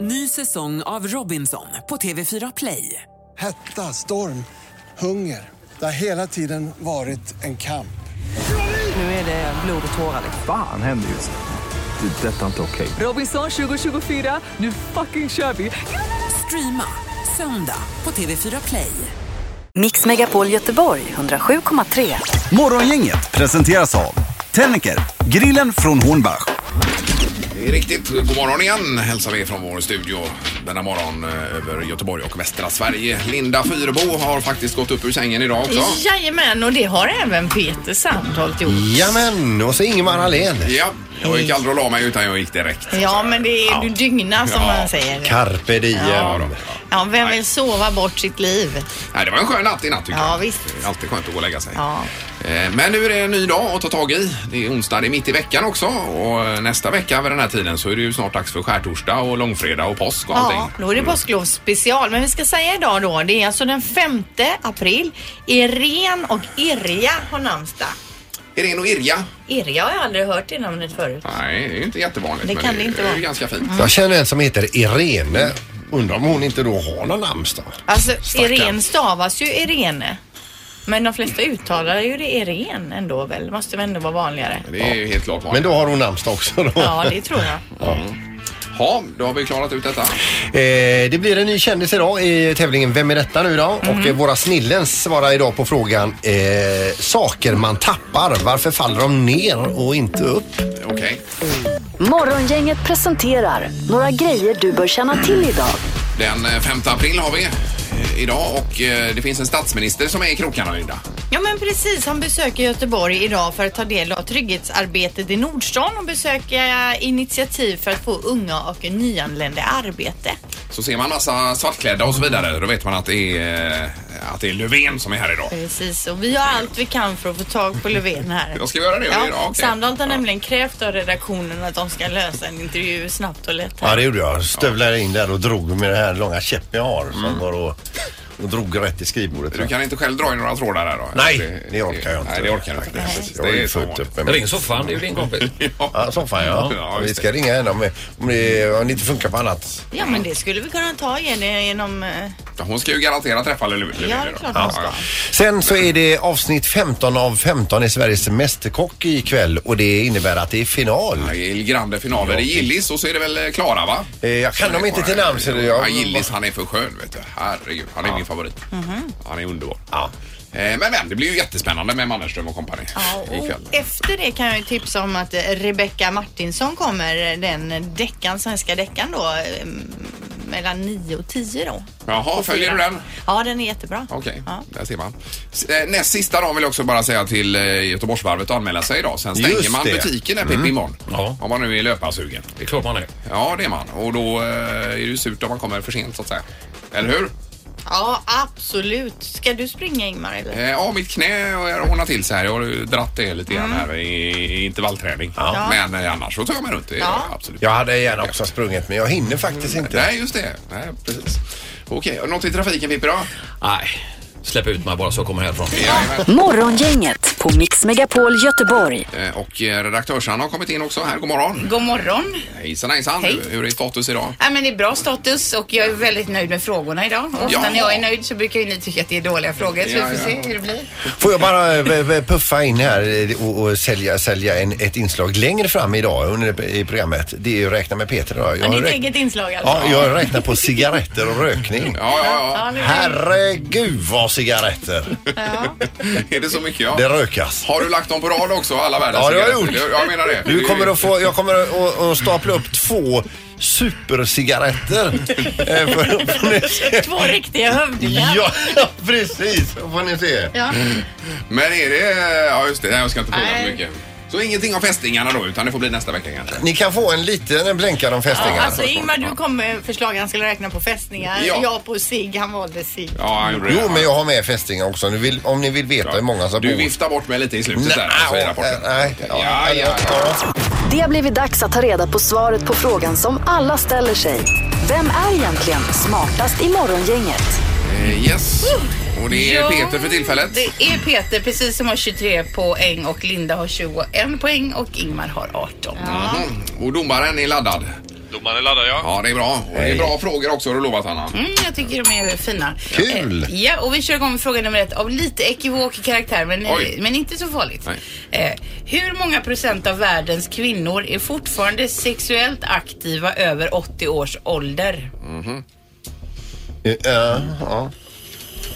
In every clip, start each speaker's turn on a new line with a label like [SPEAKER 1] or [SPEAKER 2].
[SPEAKER 1] Ny säsong av Robinson på TV4 Play.
[SPEAKER 2] Hetta, storm, hunger. Det har hela tiden varit en kamp.
[SPEAKER 1] Nu är det blod och tårar. liksom.
[SPEAKER 3] Fan händer just nu. Det. är Detta är inte okej.
[SPEAKER 1] Robinson 2024, nu fucking kör vi! Streama söndag på TV4 Play.
[SPEAKER 4] Mix Megapol Göteborg 107,3.
[SPEAKER 5] Morgongänget presenteras av Tennicker, grillen från Hornbach.
[SPEAKER 6] Det är riktigt. God morgon igen hälsar vi från vår studio denna morgon eh, över Göteborg och västra Sverige. Linda Fyrebo har faktiskt gått upp ur sängen idag också.
[SPEAKER 7] Jajamän, och det har även Peter Sandholt gjort.
[SPEAKER 8] Jamen, och så Ingemar Ahlén.
[SPEAKER 6] Ja, jag gick aldrig och la mig utan jag gick direkt.
[SPEAKER 7] Ja, men det är du dygna som
[SPEAKER 6] Ja.
[SPEAKER 7] man säger.
[SPEAKER 8] Carpe diem.
[SPEAKER 6] Ja, då.
[SPEAKER 7] Ja, vem vill sova bort sitt liv?
[SPEAKER 6] Nej, det var en skön natt i natt tycker
[SPEAKER 7] Ja,
[SPEAKER 6] jag.
[SPEAKER 7] visst.
[SPEAKER 6] Det är alltid skönt att gå och lägga sig.
[SPEAKER 7] Ja.
[SPEAKER 6] Eh, Men nu är det en ny dag att ta tag i. Det är onsdag, det är mitt i veckan också. Och eh, nästa vecka vid den här tiden så är det ju snart dags för skärtorsdag och långfredag och påsk och
[SPEAKER 7] Ja,
[SPEAKER 6] allting.
[SPEAKER 7] då är det påsklovsspecial. Men vi ska säga idag då, det är alltså den 5 april. Irene och Irja har namnsdag.
[SPEAKER 6] Irene och Irja.
[SPEAKER 7] Irja har jag aldrig hört det namnet förut.
[SPEAKER 6] Nej, det är ju inte jättevanligt.
[SPEAKER 7] Det
[SPEAKER 6] men
[SPEAKER 7] kan det inte vara. Mm.
[SPEAKER 6] är ju ganska fint.
[SPEAKER 8] Jag känner en som heter Irene. Undrar om hon inte då har någon namnsdag.
[SPEAKER 7] Alltså,
[SPEAKER 8] Stackarn.
[SPEAKER 7] Irene stavas ju Irene. Men de flesta uttalar ju det Irene ändå väl? Det måste väl ändå vara vanligare?
[SPEAKER 6] Det är ju helt klart vanligt.
[SPEAKER 8] Men då har hon namnsdag också då.
[SPEAKER 7] Ja, det tror jag.
[SPEAKER 6] Ja, då har vi klarat ut detta.
[SPEAKER 8] Eh, det blir en ny kändis idag i tävlingen Vem är detta nu då?
[SPEAKER 7] Mhm.
[SPEAKER 8] Och eh, våra snillens svarar idag på frågan eh, Saker man tappar. Varför faller de ner och inte upp?
[SPEAKER 6] Eh, Okej.
[SPEAKER 4] Morgongänget presenterar några grejer du bör känna till idag.
[SPEAKER 6] Den eh, 5 april har vi eh, idag och eh, det finns en statsminister som är i krokarna, Linda.
[SPEAKER 7] Ja men precis, han besöker Göteborg idag för att ta del av trygghetsarbetet i Nordstan och besöka initiativ för att få unga och nyanlända i arbete.
[SPEAKER 6] Så ser man massa svartklädda och så vidare, då vet man att det är, eh, att det är Löfven som är här idag.
[SPEAKER 7] Precis, och vi gör allt vi kan för att få tag på Löfven här.
[SPEAKER 6] Jag ska göra det
[SPEAKER 7] Ja,
[SPEAKER 6] idag. okej.
[SPEAKER 7] Sandholt har nämligen krävt av redaktionen att de ska lösa en intervju snabbt och lätt.
[SPEAKER 8] Ja,
[SPEAKER 7] Här.
[SPEAKER 8] det gjorde jag. Stövlade in där och drog med den här långa käppen jag har. Som går och, och drog rätt i skrivbordet.
[SPEAKER 6] Du kan inte själv dra i några trådar där då?
[SPEAKER 8] Nej, det orkar jag inte.
[SPEAKER 6] Nej, det orkar du inte.
[SPEAKER 8] Nej,
[SPEAKER 6] Precis,
[SPEAKER 8] Jag har
[SPEAKER 6] det är
[SPEAKER 8] ju
[SPEAKER 6] så
[SPEAKER 8] fullt upp med
[SPEAKER 9] Ring soffan, det är ju din kompis.
[SPEAKER 8] Ja, soffan ja.
[SPEAKER 6] Ja,
[SPEAKER 8] vi
[SPEAKER 6] just
[SPEAKER 8] ska ringa henne om, om, det, om det inte funkar på annat.
[SPEAKER 7] Ja men det skulle vi kunna ta igen genom... eh,
[SPEAKER 6] Hon ska ju garanterat träffa Lö- Löfven
[SPEAKER 7] Ja, det är
[SPEAKER 6] idag.
[SPEAKER 7] klart hon ska.
[SPEAKER 8] Sen så är det avsnitt 15 av 15 i Sveriges Mästerkock ikväll och det innebär att det är final.
[SPEAKER 6] Ja, Il Grande finaler i Gillis och så är det väl eh, Klara va?
[SPEAKER 8] Eh, jag kan dem inte till namn så det
[SPEAKER 6] Ja,
[SPEAKER 8] jag...
[SPEAKER 6] Gillis han är för skön vet du. Herregud, han är min favorit.
[SPEAKER 7] Mhm.
[SPEAKER 6] Han är underbar. Eh, Men, men det blir ju jättespännande med Mannerström och kompani
[SPEAKER 7] Ja,
[SPEAKER 6] ikväll.
[SPEAKER 7] och efter det kan jag ju tipsa om att eh, Rebecca Martinsson kommer, eh, den deckan, svenska deckan då, eh, m- mellan 9 och 10 då.
[SPEAKER 6] Jaha,
[SPEAKER 7] Och
[SPEAKER 6] följer du
[SPEAKER 7] fyra.
[SPEAKER 6] den?
[SPEAKER 7] Ja, den är jättebra.
[SPEAKER 6] Okej,
[SPEAKER 7] Ja.
[SPEAKER 6] där ser man. S- eh, Näst sista dagen vill jag också bara säga till eh, Göteborgsvarvet att anmäla sig idag. Sen stänger
[SPEAKER 8] Just
[SPEAKER 6] man
[SPEAKER 8] det.
[SPEAKER 6] butiken där mm. imorgon.
[SPEAKER 9] Ja.
[SPEAKER 6] Om man nu är löparsugen.
[SPEAKER 9] Det är klart man är.
[SPEAKER 6] Ja, det är man. Och då eh, är det ju surt om man kommer för sent så att säga. Eller hur?
[SPEAKER 7] ja, absolut. Ska du springa Ingmar? Eller?
[SPEAKER 6] Eh, Ja, mitt knä har ordnat till sig här. Jag har ju dratt det lite grann här i, i intervallträning. Men eh, annars så tar jag mig runt. Det,
[SPEAKER 7] Ja.
[SPEAKER 6] Absolut.
[SPEAKER 8] Jag hade gärna också sprungit men jag hinner faktiskt inte.
[SPEAKER 6] Mm, Nej, just det. Nej, precis. Okej, och något i trafiken Pippi då?
[SPEAKER 9] Nej, släpp ut mig bara så jag kommer härifrån.
[SPEAKER 6] Jajamän.
[SPEAKER 4] Morgongänget på Mix Megapol Göteborg.
[SPEAKER 6] Eh, Och eh, redaktörsarna har kommit in också här. God morgon.
[SPEAKER 10] God morgon.
[SPEAKER 6] Hejsan hejsan.
[SPEAKER 10] Hej.
[SPEAKER 6] Hur är status idag?
[SPEAKER 10] Ja, men det är bra status och jag är väldigt nöjd med frågorna idag. Och Ofta
[SPEAKER 6] Ja.
[SPEAKER 10] när jag är nöjd så brukar ju ni tycka att det är dåliga frågor. Så
[SPEAKER 6] Ja,
[SPEAKER 10] vi får
[SPEAKER 6] ja.
[SPEAKER 10] se hur det blir.
[SPEAKER 8] Får jag bara eh, v- v- puffa in här eh, och, och sälja, sälja en, ett inslag längre fram idag under, i programmet. Det är ju Räkna med Peter idag. Jag
[SPEAKER 7] Ja, ditt
[SPEAKER 8] räk-
[SPEAKER 7] eget inslag alltså?
[SPEAKER 8] Ja, jag räknar på cigaretter och rökning.
[SPEAKER 6] Ja, ja,
[SPEAKER 8] Herregud vad cigaretter
[SPEAKER 6] ja. Är det så mycket? Ja.
[SPEAKER 8] det rökas.
[SPEAKER 6] Har du lagt dem på rad också? Alla världens
[SPEAKER 8] Ja, det har jag
[SPEAKER 6] cigaretter?
[SPEAKER 8] gjort.
[SPEAKER 6] Jag menar det.
[SPEAKER 8] Du kommer att få, jag kommer att, att stapla upp två supercigaretter. Eh, för- får ni se.
[SPEAKER 7] Två riktiga hövdingar.
[SPEAKER 8] Ja, ja, precis. Då får ni se.
[SPEAKER 6] Men är det... Ja, just det. Nej, jag ska inte prata så
[SPEAKER 10] Nej.
[SPEAKER 6] mycket. Så ingenting om fästingarna då, utan det får bli nästa vecka kanske?
[SPEAKER 8] Ni kan få en liten en blänkare om fästingarna.
[SPEAKER 7] Alltså Ingmar, du kom med förslag. Han skulle räkna på fästningar.
[SPEAKER 6] Ja.
[SPEAKER 7] Jag på sig, han valde sig.
[SPEAKER 6] Ja, han gjorde det.
[SPEAKER 8] Jo, men jag har med fästingar också. Om ni vill, om ni vill veta hur många som
[SPEAKER 6] Du
[SPEAKER 8] bor.
[SPEAKER 6] viftar bort mig lite i slutet
[SPEAKER 8] Nej, eh,
[SPEAKER 6] där. Alltså, i rapporten.
[SPEAKER 8] nej,
[SPEAKER 6] Ja, ja, ja.
[SPEAKER 4] Det har blivit dags att ta reda på svaret på frågan som alla ställer sig. Vem är egentligen smartast i morgongänget?
[SPEAKER 6] Eh, Yes.
[SPEAKER 8] Uh.
[SPEAKER 6] Och det är
[SPEAKER 10] Ja,
[SPEAKER 6] Peter för tillfället.
[SPEAKER 10] Det är Peter precis som har 23 poäng och Linda har 21 poäng och Ingmar har 18.
[SPEAKER 6] Mm. Och Mhm. domaren är laddad.
[SPEAKER 11] Domaren är laddad ja.
[SPEAKER 6] Ja, det är bra. Och det är bra frågor också har du lovat Hanna.
[SPEAKER 10] Mm, jag tycker de är fina.
[SPEAKER 6] Kul.
[SPEAKER 10] Eh, Ja, och vi kör igång med fråga nummer ett av lite ekivok karaktär, men, eh, men inte så farligt. Eh, hur många procent av världens kvinnor är fortfarande sexuellt aktiva över 80 års ålder?
[SPEAKER 8] Eh, ja.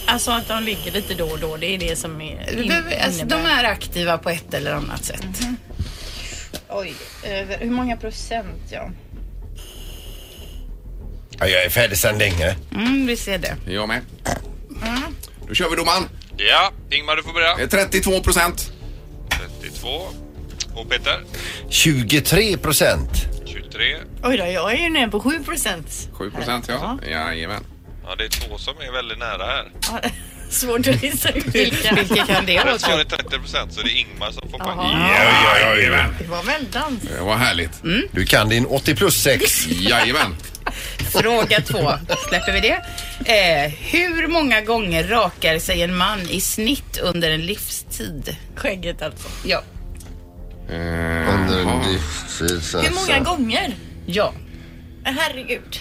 [SPEAKER 7] Alltså att de ligger lite då och då, det är det som är...
[SPEAKER 10] Vi behöver- alltså, de är aktiva på ett eller annat sätt.
[SPEAKER 7] Mhm. Oj, över, hur många procent ja?
[SPEAKER 8] Ja, jag är färdig sedan länge.
[SPEAKER 10] Mm, vi ser det.
[SPEAKER 6] Jag med.
[SPEAKER 8] Mm.
[SPEAKER 6] Då kör vi domaren.
[SPEAKER 11] Ja, Ingmar du får
[SPEAKER 6] Eh,
[SPEAKER 11] börja.
[SPEAKER 6] 32 procent.
[SPEAKER 11] 32. Och Peter?
[SPEAKER 8] 23 procent.
[SPEAKER 11] 23.
[SPEAKER 7] Oj då, jag är ju nere på 7 procent.
[SPEAKER 6] 7 procent ja. Jajamän.
[SPEAKER 11] Ja, det är två som är väldigt nära här.
[SPEAKER 7] Svårt att gissa ut vilka.
[SPEAKER 10] Vilka kan det vara?
[SPEAKER 11] Rätt svar är 30 procent så det är Ingmar som får poäng.
[SPEAKER 6] Jajamän.
[SPEAKER 7] Det var väl dans.
[SPEAKER 6] Eh, Vad härligt.
[SPEAKER 7] Mm.
[SPEAKER 8] Du kan din 80 plus 6.
[SPEAKER 6] Jajamän.
[SPEAKER 10] Fråga två, släpper vi det. Eh, hur många gånger rakar sig en man i snitt under en livstid?
[SPEAKER 7] Skägget alltså.
[SPEAKER 10] Ja.
[SPEAKER 8] Under alltså, en livstid. så-
[SPEAKER 7] Hur många gånger?
[SPEAKER 10] Ja.
[SPEAKER 7] Herregud.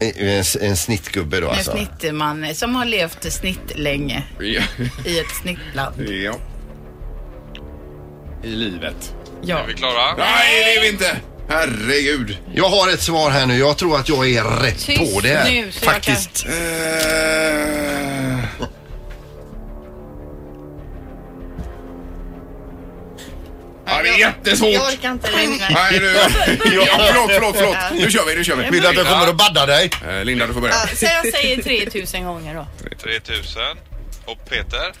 [SPEAKER 8] En, en snittgubbe då
[SPEAKER 10] En
[SPEAKER 8] alltså.
[SPEAKER 10] snittman som har levt snitt länge
[SPEAKER 6] Ja.
[SPEAKER 10] i ett snittland.
[SPEAKER 6] ja. I livet.
[SPEAKER 10] Ja.
[SPEAKER 11] Är vi klara?
[SPEAKER 6] Nej, det är vi inte. Herregud.
[SPEAKER 8] Jag har ett svar här nu. Jag tror att jag är rätt
[SPEAKER 10] Tyst
[SPEAKER 8] på det här.
[SPEAKER 10] nu, så jag
[SPEAKER 8] Faktiskt.
[SPEAKER 6] Eh, Ja, det är
[SPEAKER 7] Jag
[SPEAKER 6] jättesvårt.
[SPEAKER 7] orkar inte längre.
[SPEAKER 6] Nej, nu. Ja, förlåt, förlåt, förlåt. Nu kör vi, nu kör vi.
[SPEAKER 8] Vill du att jag kommer att badda dig?
[SPEAKER 6] Eh, Linda, du får börja.
[SPEAKER 7] Ja, Så jag säger 3000 gånger då.
[SPEAKER 11] 3000. Och Peter?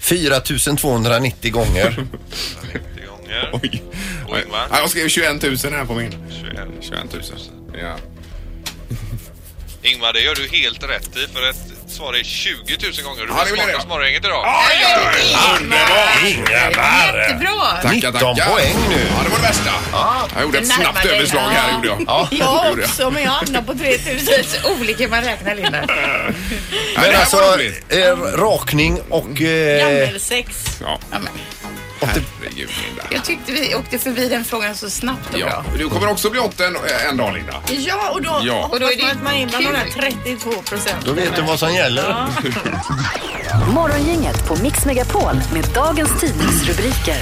[SPEAKER 8] 4290 gånger.
[SPEAKER 11] 90 gånger.
[SPEAKER 6] Oj.
[SPEAKER 11] Och Ingmar?
[SPEAKER 6] Ja, jag skrev 21 000 här på min.
[SPEAKER 11] 21.
[SPEAKER 6] 21 000. Ja.
[SPEAKER 11] Ingmar, det gör du helt rätt i för ett svar är 20 000 gånger.
[SPEAKER 6] Ja,
[SPEAKER 11] Du
[SPEAKER 6] det
[SPEAKER 11] var
[SPEAKER 6] vill jag.
[SPEAKER 11] smartast morgongänget idag.
[SPEAKER 6] Underbart!
[SPEAKER 10] Jättebra!
[SPEAKER 6] Tackar,
[SPEAKER 8] 19
[SPEAKER 6] tackar.
[SPEAKER 8] poäng nu.
[SPEAKER 6] Ja, det var det värsta. Jag gjorde ett
[SPEAKER 10] Det närmar
[SPEAKER 6] snabbt
[SPEAKER 10] dig.
[SPEAKER 6] överslag här.
[SPEAKER 10] Ja.
[SPEAKER 6] Gjorde jag.
[SPEAKER 7] Jag
[SPEAKER 6] Gjorde jag.
[SPEAKER 7] också, men jag hamnar på 3000.
[SPEAKER 10] Precis, olika man räknar Linda.
[SPEAKER 6] Ja,
[SPEAKER 8] Men
[SPEAKER 6] det här
[SPEAKER 8] alltså,
[SPEAKER 6] var roligt.
[SPEAKER 8] eh, rakning och... Eh,
[SPEAKER 7] Gammelsex.
[SPEAKER 6] Ja, herregud Linda.
[SPEAKER 10] Jag tyckte vi åkte förbi den frågan så snabbt och
[SPEAKER 6] Ja,
[SPEAKER 10] bra.
[SPEAKER 6] du kommer också bli åtta en, eh, en dag Linda.
[SPEAKER 7] Ja, och då
[SPEAKER 6] Ja.
[SPEAKER 7] och då är det att man är bland de där 32
[SPEAKER 8] då
[SPEAKER 7] procenten.
[SPEAKER 8] vet du vad som gäller.
[SPEAKER 4] Morgongänget på Mix Megapol med dagens tidningsrubriker.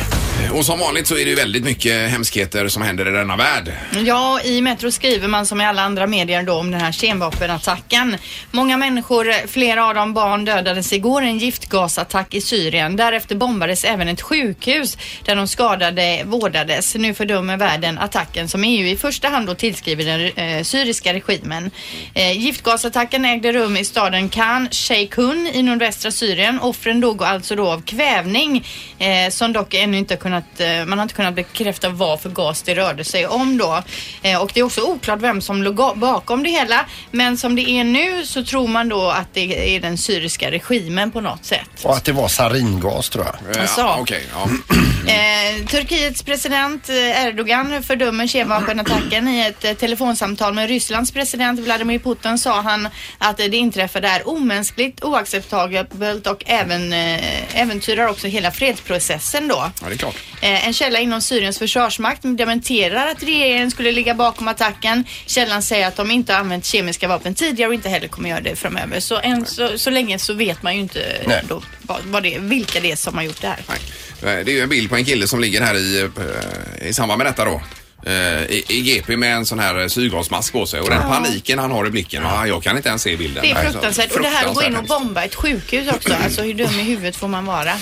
[SPEAKER 6] Och som vanligt så är det ju väldigt mycket hemskheter som händer i denna värld.
[SPEAKER 7] Ja, i Metro skriver man som i alla andra medier då om den här kemvapenattacken. Många människor, flera av dem barn, dödades igår i en giftgasattack i Syrien. Därefter bombades även ett sjukhus där de skadade vårdades. Nu fördömer världen attacken som EU i första hand då tillskriver den eh, syriska regimen. Eh, giftgasattacken ägde rum i staden Khan Sheikhun i nordvästra Syrien. Offren dog alltså då av kvävning eh, som dock ännu inte har kunnat, eh, man har inte kunnat bekräfta vad för gas det rörde sig om då. Eh, och det är också oklart vem som låg ga- bakom det hela. Men som det är nu så tror man då att det är den syriska regimen på något sätt.
[SPEAKER 8] Och att det var saringas tror jag.
[SPEAKER 6] Eh,
[SPEAKER 7] Alltså.
[SPEAKER 6] ja, Okej, ja.
[SPEAKER 7] Eh, Turkiets president eh, Erdogan fördömer kemvapenattacken i ett eh, telefonsamtal med Rysslands president Vladimir Putin sa han att eh, det inträffade är omänskligt, oacceptabelt och även, eh, äventyrar också hela fredsprocessen då.
[SPEAKER 6] ja, det är klart.
[SPEAKER 7] Eh, En källa inom Syriens försvarsmakt dementerar att regeringen skulle ligga bakom attacken. Källan säger att de inte har använt kemiska vapen tidigare och inte heller kommer göra det framöver. Så än så, så länge så vet man ju inte
[SPEAKER 8] Nej.
[SPEAKER 7] då, vad, vad det, vilka det är som har gjort det här.
[SPEAKER 6] Nej. Eh, Det är ju en bild på en kille som ligger här i, eh, i samband med detta då. Eh, I, I GP med en sån här eh, syrgasmask på sig och den paniken han har i blicken. Ah, jag kan inte ens se bilden.
[SPEAKER 7] Det är
[SPEAKER 6] Nej, så-
[SPEAKER 7] fruktansvärt. Och det här att gå in och
[SPEAKER 6] hemskt.
[SPEAKER 7] bomba ett sjukhus också. Alltså hur dum i huvudet får man vara?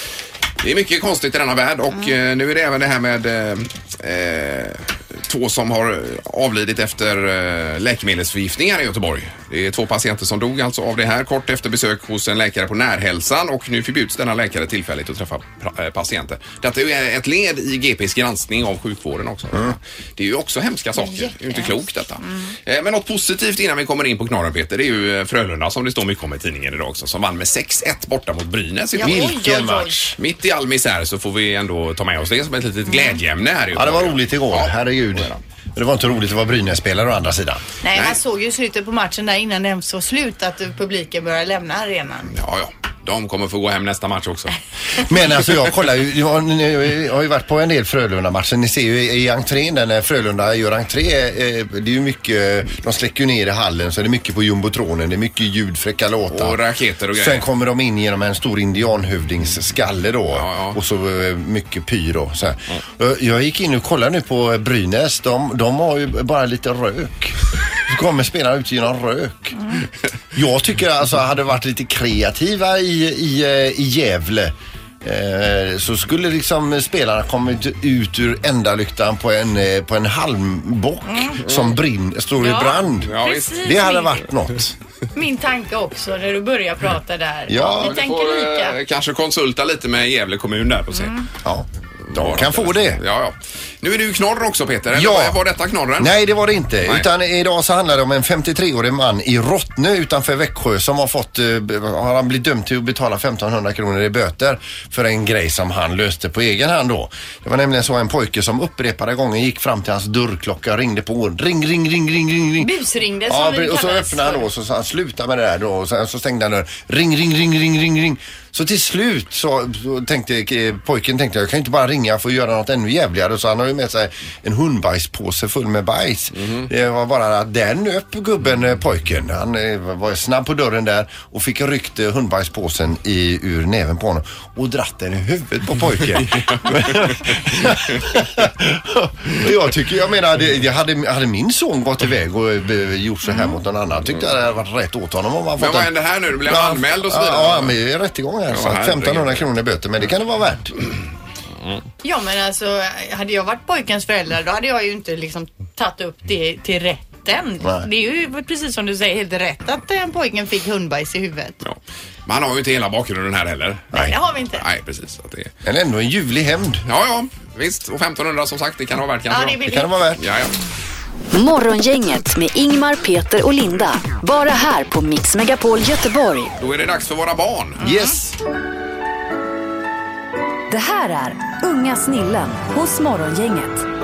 [SPEAKER 6] Det är mycket konstigt i denna värld och eh, nu är det även det här med eh, eh, två som har eh, avlidit efter eh, läkemedelsförgiftningar i Göteborg. Det är två patienter som dog alltså av det här kort efter besök hos en läkare på närhälsan och nu förbjuds denna läkare tillfälligt att träffa pra- eh, patienter. Detta är ju ett led i GPs granskning av sjukvården också.
[SPEAKER 8] Mm.
[SPEAKER 6] Det är ju också hemska saker. Det är ju inte klokt detta. Eh, Men något positivt innan vi kommer in på knorren Peter, det är ju eh, Frölunda som det står mycket om i tidningen idag också, som vann med 6-1 borta mot Brynäs igår.
[SPEAKER 8] Vilken match.
[SPEAKER 6] Mitt i all misär så får vi ändå ta med oss det som ett litet glädjeämne här i
[SPEAKER 8] Ja, det var
[SPEAKER 6] Göteborg.
[SPEAKER 8] roligt igår. Herregud. Men Det var inte roligt att vara Brynäs-spelare å andra sidan.
[SPEAKER 7] Nej,
[SPEAKER 6] Nej.
[SPEAKER 7] man såg ju i slutet på matchen där innan den så slut att publiken började lämna arenan.
[SPEAKER 6] Ja, ja. De kommer få gå hem nästa match också.
[SPEAKER 8] Men alltså jag kollar ju, jag har, jag har ju varit på en del Frölunda-matcher. Ni ser ju i entrén där när Frölunda gör entré, eh, det är ju mycket, de släcker ju ner i hallen så det är mycket på jumbotronen, det är mycket ljud, fräcka låtar.
[SPEAKER 6] Och raketer och grejer.
[SPEAKER 8] Sen kommer de in genom en stor indianhövdingsskalle då och så eh, mycket pyro. Så här. Eh, Jag gick in och kollade nu på eh, Brynäs, de, de har ju bara lite rök. Så kommer spelarna ut genom rök. Jag tycker alltså hade varit lite kreativa i, i, eh, i Gävle eh, så skulle liksom spelarna kommit ut ur ändalyktan på en, eh, på en halmbock
[SPEAKER 10] Mm.
[SPEAKER 8] som brinn, står i
[SPEAKER 10] Ja,
[SPEAKER 8] brand.
[SPEAKER 10] Ja, visst. precis.
[SPEAKER 8] det hade varit något.
[SPEAKER 10] Min tanke också när du börjar prata där. Vi
[SPEAKER 6] du
[SPEAKER 10] tänker
[SPEAKER 6] får,
[SPEAKER 10] lika.
[SPEAKER 6] eh, kanske konsulta lite med Gävle kommun där och se.
[SPEAKER 8] Ja, de kan få det.
[SPEAKER 6] Ja, ja. Nu är det ju knorr också Peter. Eller
[SPEAKER 8] Ja.
[SPEAKER 6] var- Var detta knorren?
[SPEAKER 8] Nej, det var det inte.
[SPEAKER 6] Nej.
[SPEAKER 8] Utan idag så handlar det om en 53-årig man i Rottne utanför Växjö som har fått, eh, har han blivit dömd till att betala 1500 kronor i böter för en grej som han löste på egen hand då. Det var nämligen så en pojke som upprepade gånger gick fram till hans dörrklocka och ringde på. Ring, ring, ring, ring, ring, ring.
[SPEAKER 10] Busringde som
[SPEAKER 8] Ja,
[SPEAKER 10] det
[SPEAKER 8] och så
[SPEAKER 10] kallas
[SPEAKER 8] öppnade han
[SPEAKER 10] för.
[SPEAKER 8] då och så sa han sluta med det där då och sen så stängde han dörren. Ring, ring, ring, ring, ring, ring. Så till slut så, så tänkte eh, pojken tänkte jag kan ju inte bara ringa för att göra något ännu jävligare så han har ju med sig en hundbajspåse full med bajs. Det var bara att den upp gubben eh, pojken. Han eh, var snabb på dörren där och fick ryckt eh, hundbajspåsen i, ur näven på honom och dratt den i huvudet på pojken. Och jag tycker, jag menar, det, det hade, hade min son gått iväg och eh, gjort så här mot någon annan tyckte jag det hade varit rätt åt honom. Om han
[SPEAKER 6] Mm. Men
[SPEAKER 8] fått
[SPEAKER 6] vad
[SPEAKER 8] en-
[SPEAKER 6] hände här nu? Du blev
[SPEAKER 8] Ja,
[SPEAKER 6] anmäld och så vidare.
[SPEAKER 8] Ja, men det är rättegång här. så att
[SPEAKER 6] herregud.
[SPEAKER 8] 1500 kronor i böter, men det kan det vara värt.
[SPEAKER 7] Ja men alltså hade jag varit pojkens förälder då hade jag ju inte liksom tagit upp det till rätten.
[SPEAKER 6] Nej.
[SPEAKER 7] Det är ju precis som du säger helt rätt att den pojken fick hundbajs i huvudet.
[SPEAKER 6] Ja. Man har ju inte hela bakgrunden här heller.
[SPEAKER 7] Nej, det har vi inte.
[SPEAKER 6] Nej, precis. Att det är...
[SPEAKER 8] Men ändå en ljuvlig hämnd.
[SPEAKER 6] Ja, ja. Visst. Och 1500 som sagt, det kan alltså, det vara värt kanske.
[SPEAKER 4] Ja, det är
[SPEAKER 6] då.
[SPEAKER 4] billigt. Det kan det
[SPEAKER 8] vara värt.
[SPEAKER 6] Ja, ja.
[SPEAKER 4] Morgongänget med Ingmar, Peter och Linda. Bara här på Mix Megapol Göteborg.
[SPEAKER 6] Då är det dags för våra barn.
[SPEAKER 8] Yes.
[SPEAKER 4] Det här är Unga snillen hos Morgongänget.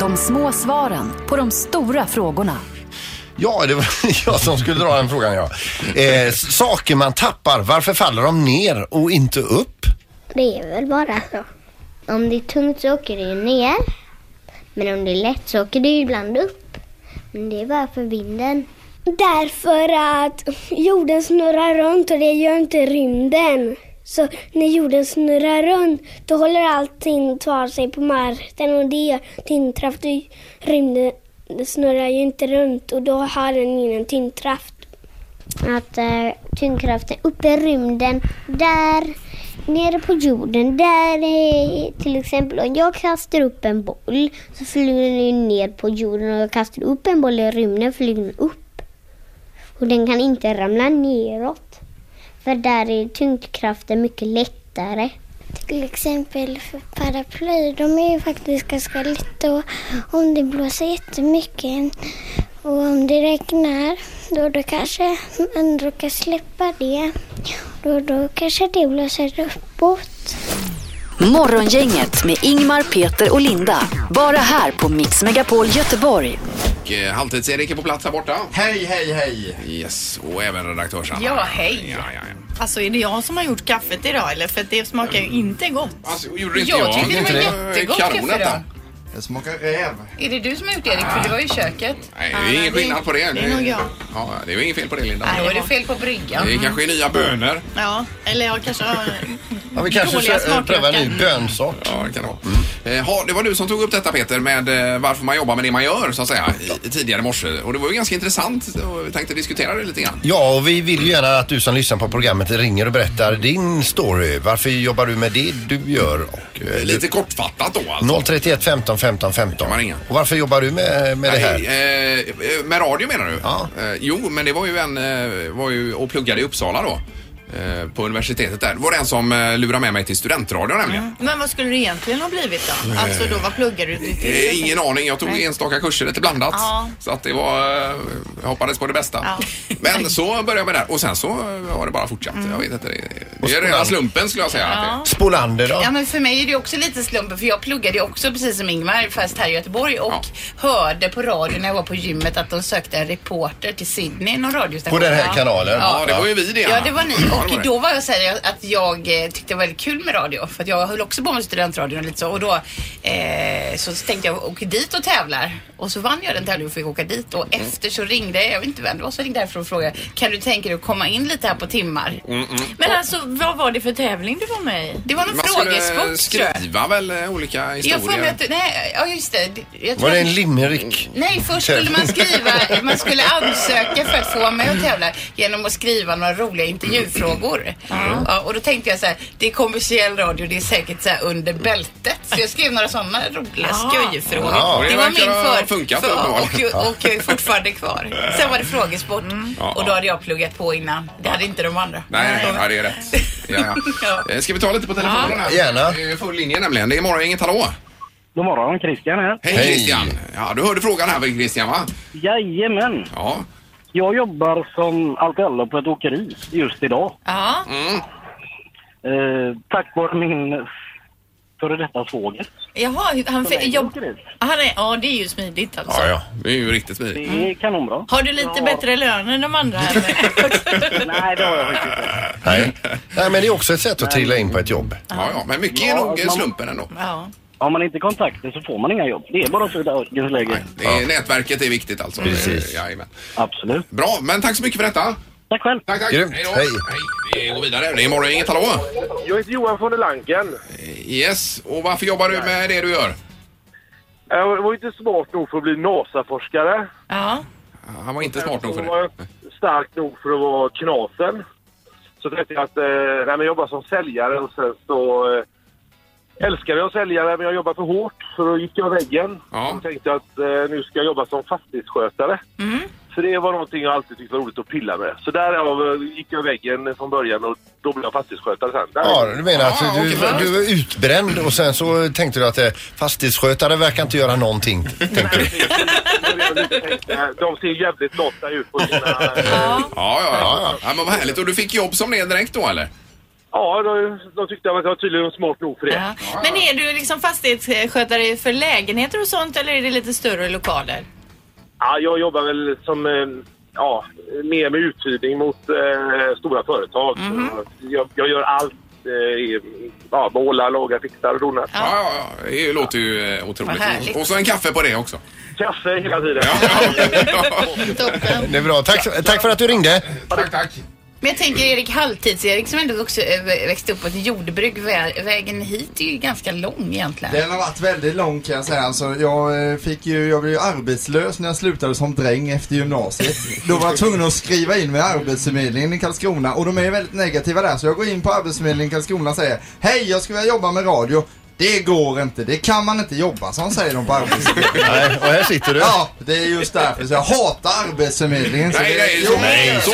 [SPEAKER 4] De små svaren på de stora frågorna.
[SPEAKER 8] Ja, det var jag som skulle dra den frågan, ja. Eh, s- saker man tappar, varför faller de ner och inte upp?
[SPEAKER 12] Det är väl bara så. Om det är tungt så åker det ju ner. Men om det är lätt så åker det ju ibland upp. Men det är bara för vinden.
[SPEAKER 13] Därför att jorden snurrar runt och det gör inte rymden. Så när jorden snurrar runt då håller allting kvar sig på marken och det gör tyngdkraft. Och Rymden snurrar ju inte runt och då har den ingen tyngdkraft.
[SPEAKER 12] Att eh, tyngdkraften uppe i rymden, där nere på jorden, där är till exempel om jag kastar upp en boll så flyger den ju ner på jorden och jag kastar upp en boll i rymden flyger den upp. Och den kan inte ramla neråt. För där är tyngdkraften mycket lättare.
[SPEAKER 13] Till exempel för paraply, de är ju faktiskt ganska lätta och om det blåser jättemycket och om det regnar då, då kanske man råkar släppa det. Då, då kanske det blåser uppåt.
[SPEAKER 4] Morgongänget med Ingmar, Peter och Linda. Bara här på Mix Megapol Göteborg.
[SPEAKER 6] Och eh, Halvtids-Erik är på plats här borta.
[SPEAKER 8] Hej, hej, hej.
[SPEAKER 6] Yes, och även redaktörs
[SPEAKER 7] Ja, hej.
[SPEAKER 6] Ja, ja, ja.
[SPEAKER 7] Alltså är det jag som har gjort kaffet idag eller? För det smakar ju inte gott.
[SPEAKER 6] Alltså, gjorde
[SPEAKER 7] jag? tycker det var
[SPEAKER 10] jättegott kaffe idag.
[SPEAKER 14] Det smakar räv.
[SPEAKER 10] Är det du som har gjort det Erik? För du var ju i köket.
[SPEAKER 6] Nej, det är ju ingen skillnad på det.
[SPEAKER 10] Det är nog jag.
[SPEAKER 6] Ja, det är ju inget fel på det, Linda.
[SPEAKER 10] Nej, då är det fel Mm. på bryggan.
[SPEAKER 6] Det kanske är nya bönor.
[SPEAKER 7] Ja, eller jag kanske har
[SPEAKER 8] Ja, vi kanske
[SPEAKER 7] dåliga Mm.
[SPEAKER 8] ska eh, pröva en
[SPEAKER 7] smaklökar.
[SPEAKER 8] ny bönsort.
[SPEAKER 6] Ja, det kan det vara. Eh, ha, det var du som tog upp detta Peter med eh, varför man jobbar med det man gör så att säga i, i tidigare morse. Och det var ju ganska intressant och vi tänkte diskutera det lite grann.
[SPEAKER 8] Ja, och vi vill ju gärna att du som lyssnar på programmet ringer och berättar din story. Varför jobbar du med det du gör? Och, eh,
[SPEAKER 6] Lite kortfattat då alltså.
[SPEAKER 8] 031 15 15 15. Och varför jobbar du med, med det här?
[SPEAKER 6] Nej, eh, eh, med radio menar du? Ja. Eh, jo, men det var ju en eh, var ju och pluggade i Uppsala då. Eh, på universitetet där. Det var det en som eh, lurade med mig till studentradion nämligen.
[SPEAKER 7] Men vad skulle det egentligen ha blivit då? Alltså då, vad pluggar du till?
[SPEAKER 6] Eh, ingen aning. Jag tog
[SPEAKER 7] Nej.
[SPEAKER 6] enstaka kurser, lite blandat.
[SPEAKER 7] Ja.
[SPEAKER 6] Så att det var... eh, Jag hoppades på det bästa. Men så började jag med det här och sen så eh, har det bara fortsatt. Jag vet inte. det- Det är rena slumpen skulle jag säga. att det-
[SPEAKER 10] Mm. Ja.
[SPEAKER 8] Spolander då?
[SPEAKER 10] Ja, men för mig är det också lite slumpen för jag pluggade ju också precis som Ingmar fast här i Göteborg och hörde på radio när jag var på gymmet att de sökte en reporter till Sydney, någon radiostation.
[SPEAKER 8] På den här kanalen?
[SPEAKER 6] Ja, det var ju vi det,
[SPEAKER 10] Ja,
[SPEAKER 6] Anna.
[SPEAKER 10] det var ni. Och
[SPEAKER 6] det var
[SPEAKER 10] och
[SPEAKER 6] det.
[SPEAKER 10] då var jag så här att jag eh, tyckte det var väldigt kul med radio. För att jag höll också på med studentradion och lite så. Och då eh, så tänkte jag åka dit och tävlar. Och så vann jag den tävlingen och fick åka dit. Och
[SPEAKER 8] Mm.
[SPEAKER 10] efter så ringde, jag vet inte vem det var, som ringde därifrån och frågade kan du tänka dig att komma in lite här på timmar?
[SPEAKER 8] Mm,
[SPEAKER 7] Men alltså, vad var det för tävling du var med i?
[SPEAKER 10] Det var någon
[SPEAKER 6] Man skulle
[SPEAKER 10] frågesport tror jag.
[SPEAKER 6] skriva väl eh, olika
[SPEAKER 10] Jag får mig
[SPEAKER 6] historier.
[SPEAKER 10] att, nej, ja just det. Jag tror
[SPEAKER 8] Var det
[SPEAKER 10] att-
[SPEAKER 8] en limerick?
[SPEAKER 10] Nej, först skulle man skriva, man skulle ansöka för att få vara med och tävla genom att skriva några roliga intervjufrågor.
[SPEAKER 6] Mm.
[SPEAKER 10] Ja, och då tänkte jag så här, det är kommersiell radio, det är säkert så här under bältet. Så jag skrev några sådana roliga
[SPEAKER 7] Ja.
[SPEAKER 10] skojfrågor.
[SPEAKER 6] Ah. Ja, det
[SPEAKER 10] det var min
[SPEAKER 6] verkar ha
[SPEAKER 10] för,
[SPEAKER 6] funkat
[SPEAKER 10] för
[SPEAKER 6] uppenbarligen.
[SPEAKER 10] och, och jag är fortfarande kvar. Sen var det frågesport och då hade jag pluggat på innan. Det hade inte de andra.
[SPEAKER 6] Mm. Nej, nej, ja, det är rätt. Ja, ja. Eh, Ska vi ta lite på telefonen här? Gärna. Det är full linje nämligen. Det är Morgongänget, hallå?
[SPEAKER 14] God morgon, Christian här.
[SPEAKER 6] Hej, Christian! Ja, du hörde frågan här väl Christian, va?
[SPEAKER 14] Jajamän.
[SPEAKER 6] Ja.
[SPEAKER 14] Jag jobbar som allt på ett åkeri just idag.
[SPEAKER 7] Ja.
[SPEAKER 14] Eh, tack vare min före detta svåger.
[SPEAKER 7] Jaha, hur- han fick jobb... Ah, Han är, ja, det är ju smidigt alltså.
[SPEAKER 6] ja. Det är ju riktigt smidigt.
[SPEAKER 14] Det är kanonbra.
[SPEAKER 7] Har du lite bättre lön än de andra? eller?
[SPEAKER 14] Nej, det har jag faktiskt
[SPEAKER 8] Nej. Nej, men det är också ett sätt att trilla in på ett jobb.
[SPEAKER 6] Ja, ja, men mycket
[SPEAKER 14] Ja, man-
[SPEAKER 6] ändå.
[SPEAKER 7] Ja.
[SPEAKER 14] Har man inte kontakter så får man inga jobb. Det är bara så i dagens läge.
[SPEAKER 6] Det är, eh, Nätverket är viktigt alltså.
[SPEAKER 14] Precis.
[SPEAKER 6] Jajamän.
[SPEAKER 14] Absolut.
[SPEAKER 6] Bra, men tack så mycket för detta.
[SPEAKER 14] Tack själv.
[SPEAKER 6] Tack, tack.
[SPEAKER 14] Grymt.
[SPEAKER 6] Hej då.
[SPEAKER 14] Hej.
[SPEAKER 6] Hej. Vi går vidare. Det är Morgongänget, hallå?
[SPEAKER 15] Jag heter Johan von der Lanken.
[SPEAKER 6] Yes, och varför jobbar du med det du gör?
[SPEAKER 15] Jag var ju inte smart nog för att bli NASA-forskare.
[SPEAKER 7] Ja.
[SPEAKER 6] Han var inte smart nog för
[SPEAKER 15] var
[SPEAKER 6] det.
[SPEAKER 15] jag stark nog för att vara knasen. Så tänkte jag att eh, nej, men jag jobbar som säljare och sen så eh, älskade jag säljare men jag jobbade för hårt så då gick jag väggen.
[SPEAKER 6] Ja.
[SPEAKER 15] Så tänkte jag att eh, nu ska jag jobba som fastighetsskötare. Så det var någonting jag alltid tyckte var roligt att pilla med. Så därav eh, gick jag väggen från början och då blev jag fastighetsskötare sen. Där.
[SPEAKER 8] Ja, du menar att du, du var utbränd och sen så tänkte du att eh, fastighetsskötare verkar inte göra någonting.
[SPEAKER 15] Eh, De ser jävligt lotta ut på sina...
[SPEAKER 6] Ja, ja, ja. ja men vad härligt. Och du fick jobb som det direkt då eller?
[SPEAKER 15] Ja, de, de tyckte att jag var tydligen smart nog för det.
[SPEAKER 7] Men är du liksom fastighetsskötare för lägenheter och sånt eller är det lite större lokaler?
[SPEAKER 15] Ja, jag jobbar väl som, eh, ja, mer med uthyrning mot eh, stora företag. Så Jag, jag gör allt. eh, i- Ja, målar, lagar, fixar och donar.
[SPEAKER 6] Ja, ja, ja. Det låter ju eh,
[SPEAKER 15] Vad
[SPEAKER 6] otroligt.
[SPEAKER 15] härligt.
[SPEAKER 6] Och så en kaffe på det också.
[SPEAKER 15] Kaffe hela tiden.
[SPEAKER 8] Det är bra. Tack, tack för att du ringde.
[SPEAKER 6] Tack, tack.
[SPEAKER 10] Men jag tänker Erik Halvtids-Erik som ändå också eh, växte upp på ett jordbruk. Vä- Vägen hit är ju ganska lång egentligen.
[SPEAKER 16] Den har varit väldigt lång kan jag säga. Alltså, jag, eh, fick ju, jag blev ju arbetslös när jag slutade som dräng efter gymnasiet. Då var jag tvungen att skriva in mig i Arbetsförmedlingen i Karlskrona och de är väldigt negativa där. Så jag går in på Arbetsförmedlingen i Karlskrona och säger Hej, jag skulle vilja jobba med radio. Det går inte, det kan man inte jobba som säger de på Arbetsförmedlingen.
[SPEAKER 8] Nej, och här sitter du.
[SPEAKER 16] Ja, det är just därför. Så jag hatar Arbetsförmedlingen. så
[SPEAKER 6] Nej,
[SPEAKER 16] det-
[SPEAKER 6] nej, så-
[SPEAKER 16] Jo,
[SPEAKER 6] nej, så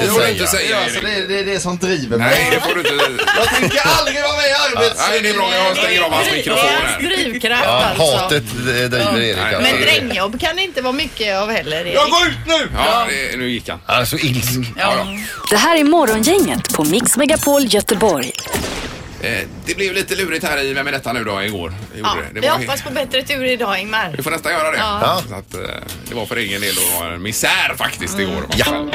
[SPEAKER 16] det-
[SPEAKER 6] får vi inte
[SPEAKER 16] det-
[SPEAKER 6] säga.
[SPEAKER 16] Ja, så det, det är det som driver mig.
[SPEAKER 6] Nej, det får du inte.
[SPEAKER 16] Jag tänker aldrig vara med i Arbetsförmedlingen.
[SPEAKER 6] Nej, det är bra. Jag stänger av hans mikrofon här.
[SPEAKER 7] Drivkraft
[SPEAKER 8] Ja,
[SPEAKER 7] alltså.
[SPEAKER 8] hatet eh, driver Erik alltså.
[SPEAKER 7] Men drängjobb kan det inte vara mycket av heller Erik.
[SPEAKER 16] ut nu!
[SPEAKER 6] Ja, det, nu gick han.
[SPEAKER 8] Han är så ilsk.
[SPEAKER 4] Det här är Morgongänget på Mix Megapol Göteborg.
[SPEAKER 6] Eh, Det blev lite lurigt här i Vem är detta nu då igår? Det gjorde
[SPEAKER 7] Ja,
[SPEAKER 6] det. Det
[SPEAKER 7] vi
[SPEAKER 6] var-
[SPEAKER 7] hoppas på bättre tur idag Ingmar.
[SPEAKER 6] Vi får nästan göra det.
[SPEAKER 7] Ja.
[SPEAKER 6] Så att, eh, det var för egen del och en misär faktiskt
[SPEAKER 7] Mm.
[SPEAKER 6] igår.
[SPEAKER 17] Ja.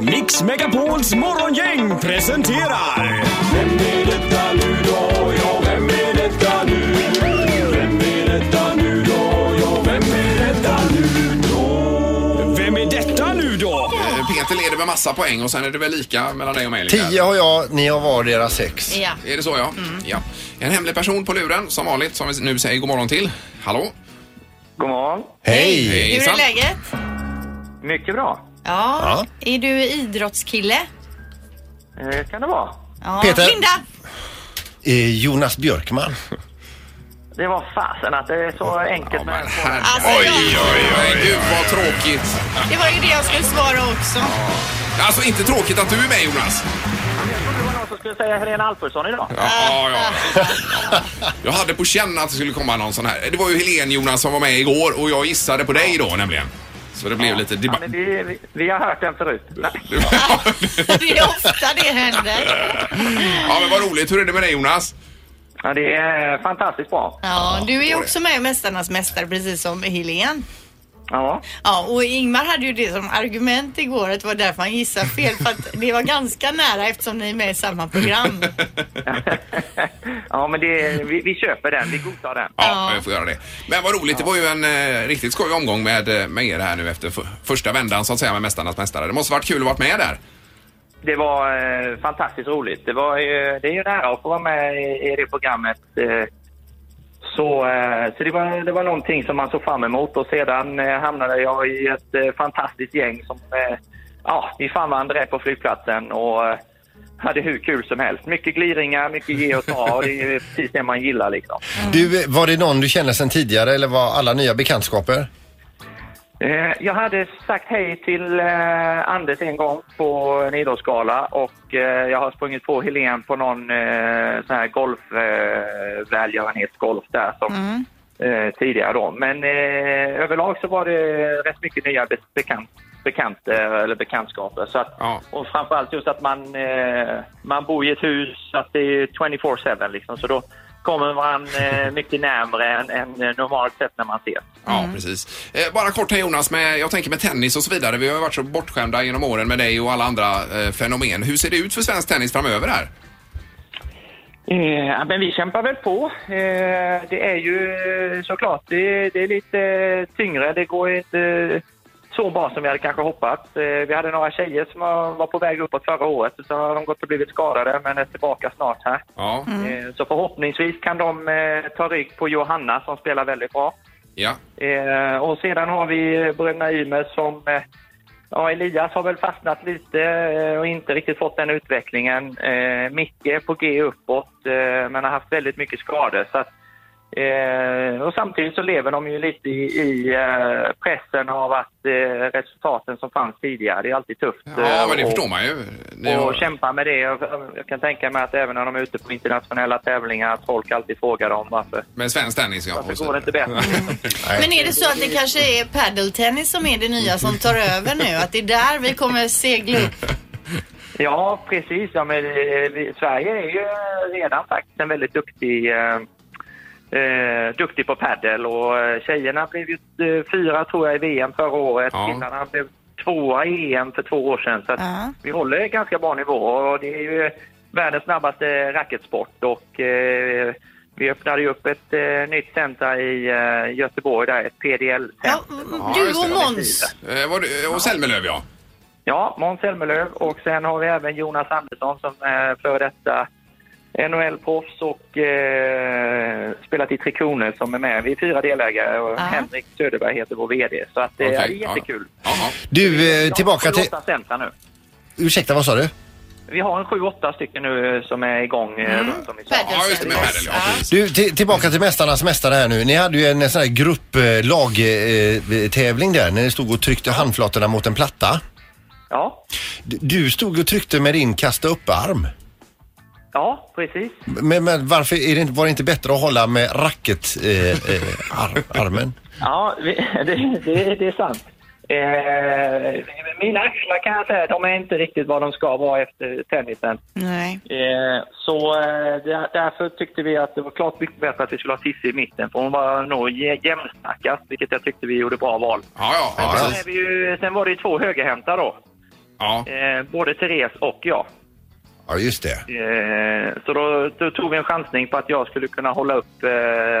[SPEAKER 17] Mix Megapols morgongäng presenterar... Vem är detta nu då? Ja, vem är detta nu? Vem är detta nu då? Ja, vem är detta nu då? Vem är detta nu då?
[SPEAKER 6] Eh, Peter leder med massa poäng och sen är det väl lika mellan dig och mig? Linda?
[SPEAKER 8] Tio har jag, ni har vardera sex.
[SPEAKER 7] Ja.
[SPEAKER 6] Är det så ja?
[SPEAKER 7] Mm.
[SPEAKER 6] ja? En hemlig person på luren som vanligt som vi nu säger god morgon till. Hallå?
[SPEAKER 15] God morgon.
[SPEAKER 8] Hej!
[SPEAKER 7] Hur är
[SPEAKER 6] Hejsan.
[SPEAKER 7] läget?
[SPEAKER 15] Mycket bra.
[SPEAKER 7] Ja.
[SPEAKER 6] Ja.
[SPEAKER 7] Är du idrottskille?
[SPEAKER 15] Eh, kan det vara.
[SPEAKER 7] Ja.
[SPEAKER 8] Peter.
[SPEAKER 7] Linda!
[SPEAKER 8] Eh, Jonas Björkman.
[SPEAKER 15] Det var fasen att det är så enkelt med
[SPEAKER 7] Alltså,
[SPEAKER 6] Oj, oj, oj. Gud vad tråkigt.
[SPEAKER 7] Det var ju det jag skulle svara också.
[SPEAKER 6] Alltså inte tråkigt att du är med Jonas.
[SPEAKER 15] Jag skulle säga Helena Alfredsson idag.
[SPEAKER 6] Ja, ja, ja. Ja. Jag hade på känn att det skulle komma någon sån här. Det var ju Helen Jonas som var med igår och jag gissade på dig då nämligen. Så det blev lite debatt.
[SPEAKER 15] vi, har hört den förut.
[SPEAKER 7] Det är ofta det händer.
[SPEAKER 6] Ja men vad roligt. Hur är det med dig Jonas?
[SPEAKER 15] Ja, det är fantastiskt bra.
[SPEAKER 7] Ja, du är ju också med i Mästarnas Mästare precis som Helene.
[SPEAKER 15] Ja.
[SPEAKER 7] Ja, och Ingmar hade ju det som argument igår att det var därför han gissade fel för att det var ganska nära eftersom ni är med i samma program.
[SPEAKER 18] Ja, men det, vi, vi köper den. Vi godtar den.
[SPEAKER 6] Ja, jag får göra det. Men vad roligt, det var ju en eh, riktigt skoj omgång med, eh, med er här nu efter f- första vändan så att säga med Mästarnas Mästare. Det måste varit kul att vara med där.
[SPEAKER 18] Det var eh, fantastiskt roligt. Det, var, ju- det är ju en ära att få vara med i, i det programmet. Eh, så eh, så det, var, det var någonting som man såg fram emot och sedan eh, hamnade jag i ett eh, fantastiskt gäng som eh, ja, vi fann varandra där på flygplatsen och eh, hade hur kul som helst. Mycket gliringar, mycket ge och ta och det är ju precis det man gillar liksom.
[SPEAKER 7] Mm.
[SPEAKER 8] Du, eh, var det någon du kände sedan tidigare eller var alla nya bekantskaper?
[SPEAKER 18] Eh, Jag hade sagt hej till eh, Anders en gång på en idrottsgala och eh, jag har sprungit på Helen på någon eh, sån här golf, eh, välgörenhetsgolf där som
[SPEAKER 7] Mm.
[SPEAKER 18] eh, tidigare då. Men eh, överlag så var det rätt mycket nya be- bekant, bekanter eller bekantskaper. Så att, Och framförallt just att man, eh, man bor i ett hus, så att det är 24-7 liksom. Så då kommer man eh, mycket närmre än, än eh, normalt sett när man ses.
[SPEAKER 6] Ja, precis. Eh, bara kort här Jonas, med, jag tänker med tennis och så vidare. Vi har ju varit så bortskämda genom åren med dig och alla andra eh, fenomen. Hur ser det ut för svensk tennis framöver här?
[SPEAKER 18] Eh, ja, men vi kämpar väl på. Eh, det är ju eh, såklart, det, det är lite eh, tyngre. Det går inte eh, så bra som vi hade kanske hoppats. Eh, vi hade några tjejer som var var på väg uppåt förra året. Så har de gått och blivit skadade, men är tillbaka snart här.
[SPEAKER 6] Ja.
[SPEAKER 18] Eh, så förhoppningsvis kan de eh, ta rygg på Johanna som spelar väldigt bra.
[SPEAKER 6] Ja.
[SPEAKER 18] Eh, och sedan har vi eh, bröderna Ymer som... Eh, ja, Elias har väl fastnat lite eh, och inte riktigt fått den utvecklingen. Eh, Micke är på G uppåt, eh, men har haft väldigt mycket skador. Så att, eh, och samtidigt så lever de ju lite i, i eh, pressen av att eh, resultaten som fanns tidigare, det är alltid tufft.
[SPEAKER 6] Ja,
[SPEAKER 18] eh,
[SPEAKER 6] men det
[SPEAKER 18] och-
[SPEAKER 6] förstår man ju. Ni
[SPEAKER 18] och
[SPEAKER 6] har-
[SPEAKER 18] kämpa med det. Jag, jag kan tänka mig att även när de är ute på internationella tävlingar att folk alltid frågar dem varför.
[SPEAKER 6] Men svensk tennis, ja.
[SPEAKER 18] Varför går det inte bättre?
[SPEAKER 7] Mm. Men är det så att det kanske är paddeltennis som är det nya som tar över nu? Att det är där vi kommer segla upp?
[SPEAKER 18] Ja, precis. Ja, men, eh, vi, Sverige är ju eh, redan faktiskt en väldigt duktig, eh, eh, duktig på padel och eh, tjejerna blev ju eh, fyra tror jag i VM förra året.
[SPEAKER 6] Ja.
[SPEAKER 18] Killarna blev tvåa i EM för två år sedan. Så att
[SPEAKER 7] Ja.
[SPEAKER 18] vi håller ganska bra nivå och det är ju eh, världens snabbaste racketsport och eh, vi öppnade ju upp ett eh, nytt center i eh, Göteborg där, ett PDL-center.
[SPEAKER 7] du och Måns.
[SPEAKER 6] Eh, var det- Och Selmelöv, ja.
[SPEAKER 18] Ja, Måns Zelmerlöw och sen har vi även Jonas Andersson som är före detta NHL-proffs och eh, spelat i Tre Kronor som är med. Vi är fyra delägare och Henrik Söderberg heter vår VD. Så att, eh,
[SPEAKER 8] Okej,
[SPEAKER 18] det är jättekul.
[SPEAKER 8] Du, eh, tillbaka till...
[SPEAKER 18] Åtta centra nu.
[SPEAKER 8] Ursäkta, vad sa du?
[SPEAKER 18] Vi har en sju, åtta stycken nu eh, som är igång eh, runt om i Sverige. Ja, just det, med
[SPEAKER 6] padel,
[SPEAKER 8] Du, till- tillbaka till Mästarnas Mästare här nu. Ni hade ju en sån här eh, grupplagtävling eh, där när ni stod och tryckte handflatorna mot en platta.
[SPEAKER 18] Ja.
[SPEAKER 8] Du, du stod och tryckte med din kasta upp-arm.
[SPEAKER 18] Ja, precis.
[SPEAKER 8] Men, men varför är det, inte- var det inte bättre att hålla med racketarmen? Eh, ar, armen?
[SPEAKER 18] Ja, vi, det, det, det är sant. Eh, mina axlar kan jag säga, de är inte riktigt vad de ska vara efter tennisen.
[SPEAKER 7] Nej.
[SPEAKER 18] Eh, så eh, där- därför tyckte vi att det var klart mycket bättre att vi skulle ha Cissi i mitten, för hon var nog jä- jämnsnackast, vilket jag tyckte vi gjorde bra val.
[SPEAKER 6] Ja,
[SPEAKER 18] ja, sen, är vi ju, sen var det ju två högerhänta då. Eh, både Therese och jag.
[SPEAKER 8] Ja, just det.
[SPEAKER 18] Eh, så då, då tog vi en chansning på att jag skulle kunna hålla upp eh,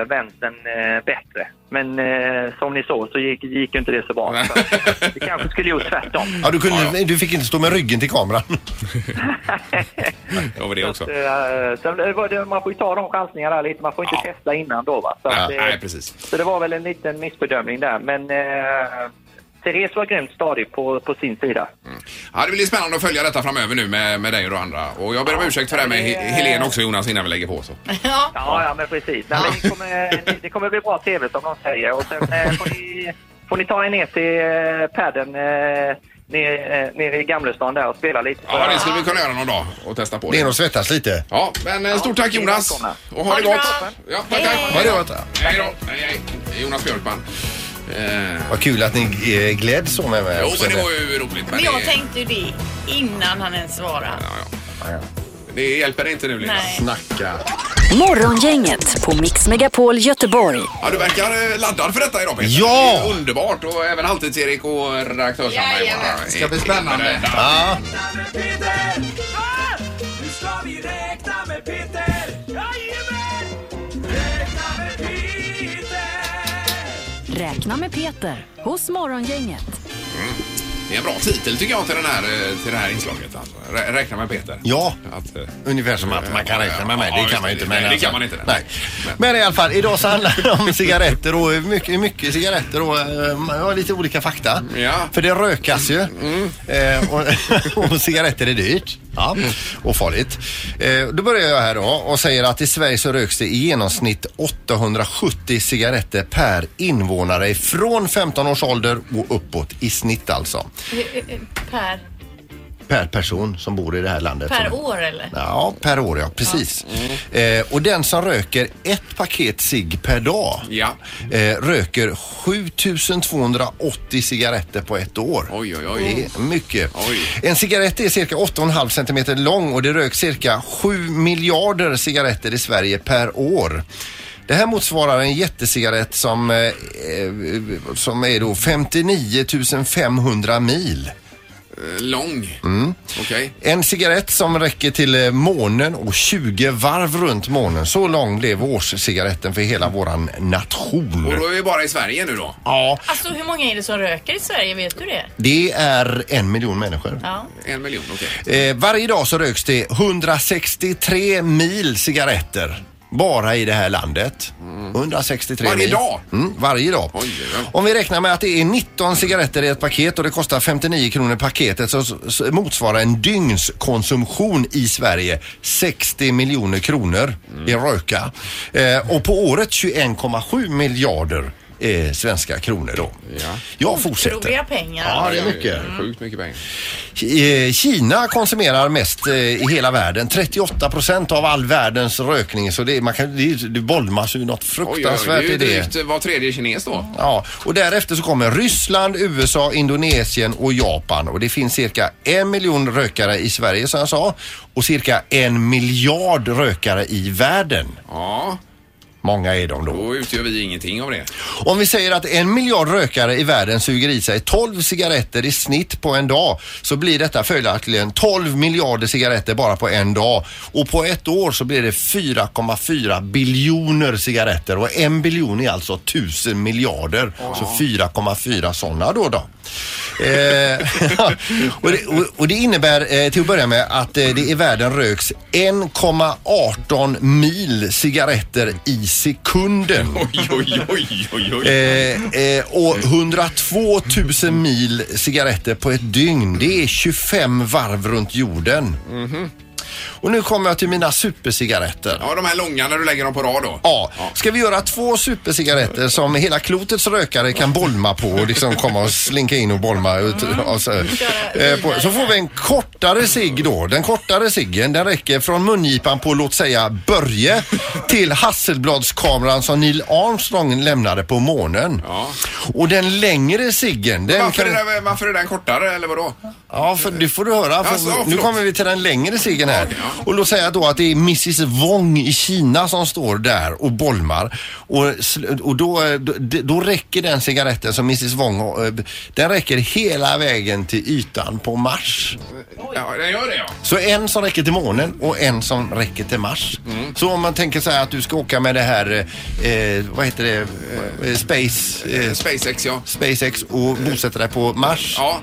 [SPEAKER 18] vänstern eh, bättre. Men eh, som ni såg så gick, gick ju inte det så bra. Så vi kanske skulle gjort tvärtom.
[SPEAKER 8] Ja, du, kunde, du fick inte stå med ryggen till kameran.
[SPEAKER 6] Det var det också.
[SPEAKER 18] Eh, sen det var det, man får ju ta de chansningarna där lite. Man får inte testa innan då. Va? Så,
[SPEAKER 6] Ja,
[SPEAKER 18] eh,
[SPEAKER 6] nej, precis.
[SPEAKER 18] så det var väl en liten missbedömning där. Men eh, Therese var grymt stadig på, på sin sida.
[SPEAKER 6] Ja, det blir spännande att följa detta framöver nu med, med dig och de andra. Och jag ber om ursäkt för det här med He- Helen också Jonas innan vi lägger på. Så.
[SPEAKER 7] Ja,
[SPEAKER 18] ja men precis. Nej, men det, kommer, det kommer bli bra TV som de säger. Och sen eh, får, ni, får ni ta er ner till eh, padden eh, nere, eh, nere i Gamlestan där och spela lite.
[SPEAKER 6] Ja, det skulle vi kunna göra någon dag och testa på.
[SPEAKER 8] Det är nog svettas lite.
[SPEAKER 6] Ja, men eh, stort tack
[SPEAKER 8] ni är
[SPEAKER 6] Jonas.
[SPEAKER 8] välkomna.
[SPEAKER 6] Och ha det gott. Ja, tack, tack.
[SPEAKER 8] Ha det gott.
[SPEAKER 6] Hej då. Hej, hej. Det är Jonas Björkman. Eh,
[SPEAKER 8] Vad kul att ni eh, gläds så med mig.
[SPEAKER 6] jo, men det var ju roligt.
[SPEAKER 7] Men jag
[SPEAKER 6] det,
[SPEAKER 7] tänkte ju det innan han ens svarade.
[SPEAKER 6] det hjälper inte nu Linda.
[SPEAKER 7] Nej.
[SPEAKER 8] Snacka.
[SPEAKER 4] Morgongänget på Mix Megapol Göteborg.
[SPEAKER 6] Ja, du verkar eh, laddad för detta idag Peter.
[SPEAKER 4] Ja!
[SPEAKER 6] Det är Underbart och även Halvtids-Erik och redaktörsarna.
[SPEAKER 16] Jajamän. Ska bli spännande.
[SPEAKER 6] Ja.
[SPEAKER 17] Nu ska vi räkna med Peter! Jajamän! Räkna med Peter!
[SPEAKER 4] Räkna med Peter hos Morgongänget.
[SPEAKER 6] Mm. Det är en bra titel tycker jag till, den här, eh, till det här inslaget. Alltså. Rä- Räkna med Peter.
[SPEAKER 8] Ja,
[SPEAKER 6] Att, eh,
[SPEAKER 8] ungefär som att man kan räkna med mig.
[SPEAKER 6] ja,
[SPEAKER 8] Det
[SPEAKER 6] just
[SPEAKER 8] kan man ju inte.
[SPEAKER 6] Nej,
[SPEAKER 8] men
[SPEAKER 6] det
[SPEAKER 8] alltså-
[SPEAKER 6] kan man inte.
[SPEAKER 8] Nej. Men i alla fall, idag så handlar det om cigaretter och mycket, mycket cigaretter och eh, man har lite olika fakta. För det rökas ju.
[SPEAKER 6] Mm,
[SPEAKER 8] Eh, och, och cigaretter är dyrt. Ja, och farligt. Eh, då börjar jag här då och säger att i Sverige så röks det i genomsnitt 870 cigaretter per invånare från 15 års ålder och uppåt i snitt alltså.
[SPEAKER 10] Per,
[SPEAKER 8] Per person som bor i det här landet.
[SPEAKER 10] per år eller?
[SPEAKER 8] Ja, per år ja, precis. Eh, och den som röker ett paket cigg per dag eh, röker 7280 cigaretter på ett år. Oj, oj,
[SPEAKER 6] oj.
[SPEAKER 8] Det är mycket. En cigarett är cirka 8,5 centimeter lång och det röks cirka 7 miljarder cigaretter i Sverige per år. Det här motsvarar en jättecigarett som, eh, eh, som är då 59 500 mil.
[SPEAKER 6] Eh, Lång.
[SPEAKER 8] Mm.
[SPEAKER 6] Okej.
[SPEAKER 8] En cigarett som räcker till eh, månen och 20 varv runt månen. Så lång blev årscigaretten för hela våran nation.
[SPEAKER 6] Och då är vi bara i Sverige nu då.
[SPEAKER 8] Ja,
[SPEAKER 10] Alltså hur många är det som röker i Sverige? Vet du det?
[SPEAKER 8] det är en miljon människor.
[SPEAKER 10] Ja.
[SPEAKER 6] En miljon, okej.
[SPEAKER 8] Eh, varje dag så röks det 163 mil cigaretter. Bara i det här landet. 163
[SPEAKER 6] Varje
[SPEAKER 8] mil.
[SPEAKER 6] dag?
[SPEAKER 8] Mm, varje dag. Om vi räknar med att det är 19 cigaretter i ett paket och det kostar 59 kronor paketet så, så motsvarar en dygnskonsumtion i Sverige 60 miljoner kronor i
[SPEAKER 6] Mm.
[SPEAKER 8] röka. Eh, och på året 21,7 miljarder eh, svenska kronor då. Jag fortsätter.
[SPEAKER 10] Otroliga pengar.
[SPEAKER 8] Ja, det är mycket.
[SPEAKER 6] Sjukt mycket pengar.
[SPEAKER 8] Ki- eh, Kina konsumerar mest eh, i hela världen. 38 procent av all världens rökning. Så det, är- man kan, det, är- det bolmas ju något
[SPEAKER 6] Oj, oj, oj, det är
[SPEAKER 8] fruktansvärt
[SPEAKER 6] ju
[SPEAKER 8] i det.
[SPEAKER 6] drygt eh, var tredje kines då.
[SPEAKER 8] Ja, och därefter så kommer Ryssland, USA, Indonesien och Japan. Och det finns cirka en miljon rökare i Sverige som jag sa. Och cirka en miljard rökare i världen.
[SPEAKER 6] Ja.
[SPEAKER 8] Många är de då.
[SPEAKER 6] Då utgör vi ingenting av det.
[SPEAKER 8] Om vi säger att en miljard rökare i världen suger i sig 12 cigaretter i snitt på en dag så blir detta följaktligen 12 miljarder cigaretter bara på en dag. Och på ett år så blir det 4,4 biljoner cigaretter och en biljon är alltså 1000 miljarder. Så 4,4 sådana då då. Eh, och, det, och, och det innebär eh, till att börja med att eh, det i världen röks 1,18 mil cigaretter i sekunden.
[SPEAKER 6] Oj, oj, oj, oj, oj.
[SPEAKER 8] Eh, eh, och 102 000 mil cigaretter på ett dygn. Det är 25 varv runt jorden.
[SPEAKER 6] Mhm.
[SPEAKER 8] Och nu kommer jag till mina supercigaretter.
[SPEAKER 6] Ja, de här långa när du lägger dem på rad då.
[SPEAKER 8] Ja, ska vi göra två supercigaretter som hela klotets rökare kan bolma på och liksom komma och slinka in och bolma ut,
[SPEAKER 6] Mm.
[SPEAKER 8] och så, eh, på, så får vi en kortare cigg då. Den kortare ciggen den räcker från mungipan på låt säga Börje till Hasselbladskameran som Neil Armstrong lämnade på månen. Och den längre ciggen den
[SPEAKER 6] Varför,
[SPEAKER 8] kan...
[SPEAKER 6] är det, varför är den kortare eller vadå?
[SPEAKER 8] Ja, för det får du höra. För
[SPEAKER 6] Alltså, ja,
[SPEAKER 8] nu
[SPEAKER 6] förlåt.
[SPEAKER 8] kommer vi till den längre ciggen här. Och låt säga då att det är Mrs Wong i Kina som står där och bolmar. Och, sl- och då, eh, då, då räcker den cigaretten som Mrs Wong har, eh, den räcker hela vägen till ytan på Mars.
[SPEAKER 6] Ja, den gör det ja.
[SPEAKER 8] Så en som räcker till månen och en som räcker till Mars.
[SPEAKER 6] Mm.
[SPEAKER 8] Så om man tänker så här att du ska åka med det här, eh, eh, vad heter det, eh, Space... Eh,
[SPEAKER 6] SpaceX ja.
[SPEAKER 8] SpaceX och bosätta dig på Mars.
[SPEAKER 6] Ja.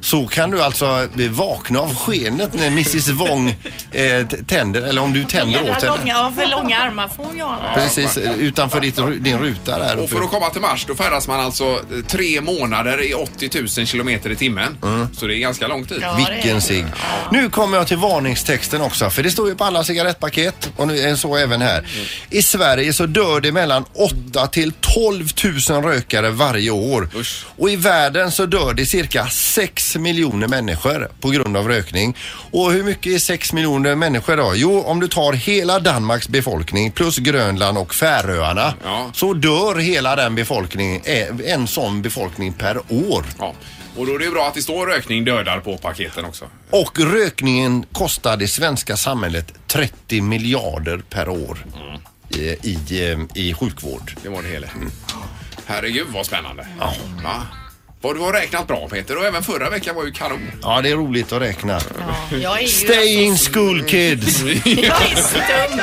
[SPEAKER 8] Så kan du alltså bli vakna av skenet när Mrs Wong eh, t- tänder, eller om du tänder åt
[SPEAKER 10] Jävla
[SPEAKER 8] henne.
[SPEAKER 10] långa, ja, för långa armar får hon ju ha.
[SPEAKER 8] Precis, eh, utanför ditt, ru- din ruta där.
[SPEAKER 6] Och för att komma till Mars då färdas man alltså eh, tre månader i 80 000 kilometer i timmen.
[SPEAKER 8] Mm.
[SPEAKER 6] Så det är ganska lång tid.
[SPEAKER 8] Vilken cigg. Nu kommer jag till varningstexten också, för det står ju på alla cigarettpaket och nu är det så även här. I Sverige så dör det mellan 8 till 12 000 rökare varje år. Och i världen så dör det cirka 6 miljoner människor på grund av rökning. Och hur mycket är 6 miljoner människor då? Jo, om du tar hela Danmarks befolkning plus Grönland och Färöarna så dör hela den befolkningen, eh, en sån befolkning per år.
[SPEAKER 6] Och då är det ju bra att det står rökning dödar på paketen också.
[SPEAKER 8] Och rökningen kostar det svenska samhället 30 miljarder per år i, i, eh, i sjukvård.
[SPEAKER 6] Det var det hela.
[SPEAKER 8] Mm.
[SPEAKER 6] Herregud vad spännande. Ja. Vad Du har räknat bra Peter och även förra veckan var ju kanon.
[SPEAKER 8] Ja, det är roligt att räkna.
[SPEAKER 7] Jag är ju
[SPEAKER 8] Stay in school kids!
[SPEAKER 7] Jag är stum.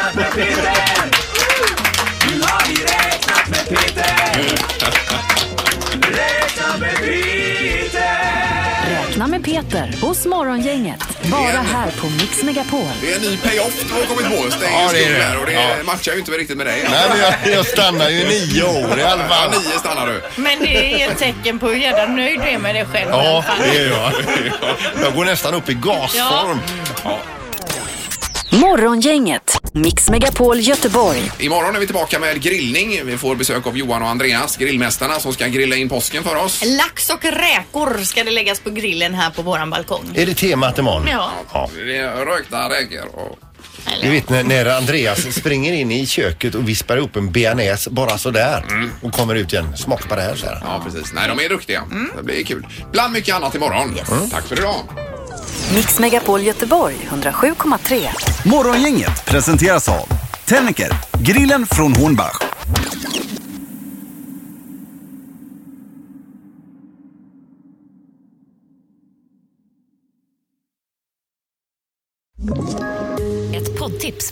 [SPEAKER 4] Räkna med Peter hos Morgongänget. Bara här på Mix Megapol.
[SPEAKER 6] Det är en ny payoff du har kommit på. Stäng
[SPEAKER 8] Ja, det är det.
[SPEAKER 6] Och det
[SPEAKER 8] Ja.
[SPEAKER 6] matchar ju inte riktigt med dig.
[SPEAKER 8] Nej, men jag, jag stannar ju nio år i alla fall.
[SPEAKER 6] Ja, nio stannar du.
[SPEAKER 7] Men det är ett tecken på hur jävla nöjd du är med dig själv. i alla
[SPEAKER 8] Ja,
[SPEAKER 7] fall.
[SPEAKER 8] det är jag. Jag går nästan upp i gasform.
[SPEAKER 4] Morgongänget, Mix Megapol Göteborg.
[SPEAKER 6] Imorgon är vi tillbaka med grillning. Vi får besök av Johan och Andreas, grillmästarna, som ska grilla in påsken för oss.
[SPEAKER 7] Lax och räkor ska det läggas på grillen här på våran balkong.
[SPEAKER 8] Är det temat imorgon?
[SPEAKER 7] Ja.
[SPEAKER 6] Det är Rökta räkor och...
[SPEAKER 8] Du vet när, när Andreas springer in i köket och vispar upp en bearnaise bara sådär och kommer ut igen. Smaka på det här, så här.
[SPEAKER 6] Ja, precis. Nej, de är duktiga. Det blir kul. Bland mycket annat imorgon. Tack för idag.
[SPEAKER 4] Mix Megapol Göteborg 107,3.
[SPEAKER 5] Morgongänget presenteras av Tennicker, grillen från Hornbach.
[SPEAKER 19] Ett poddtips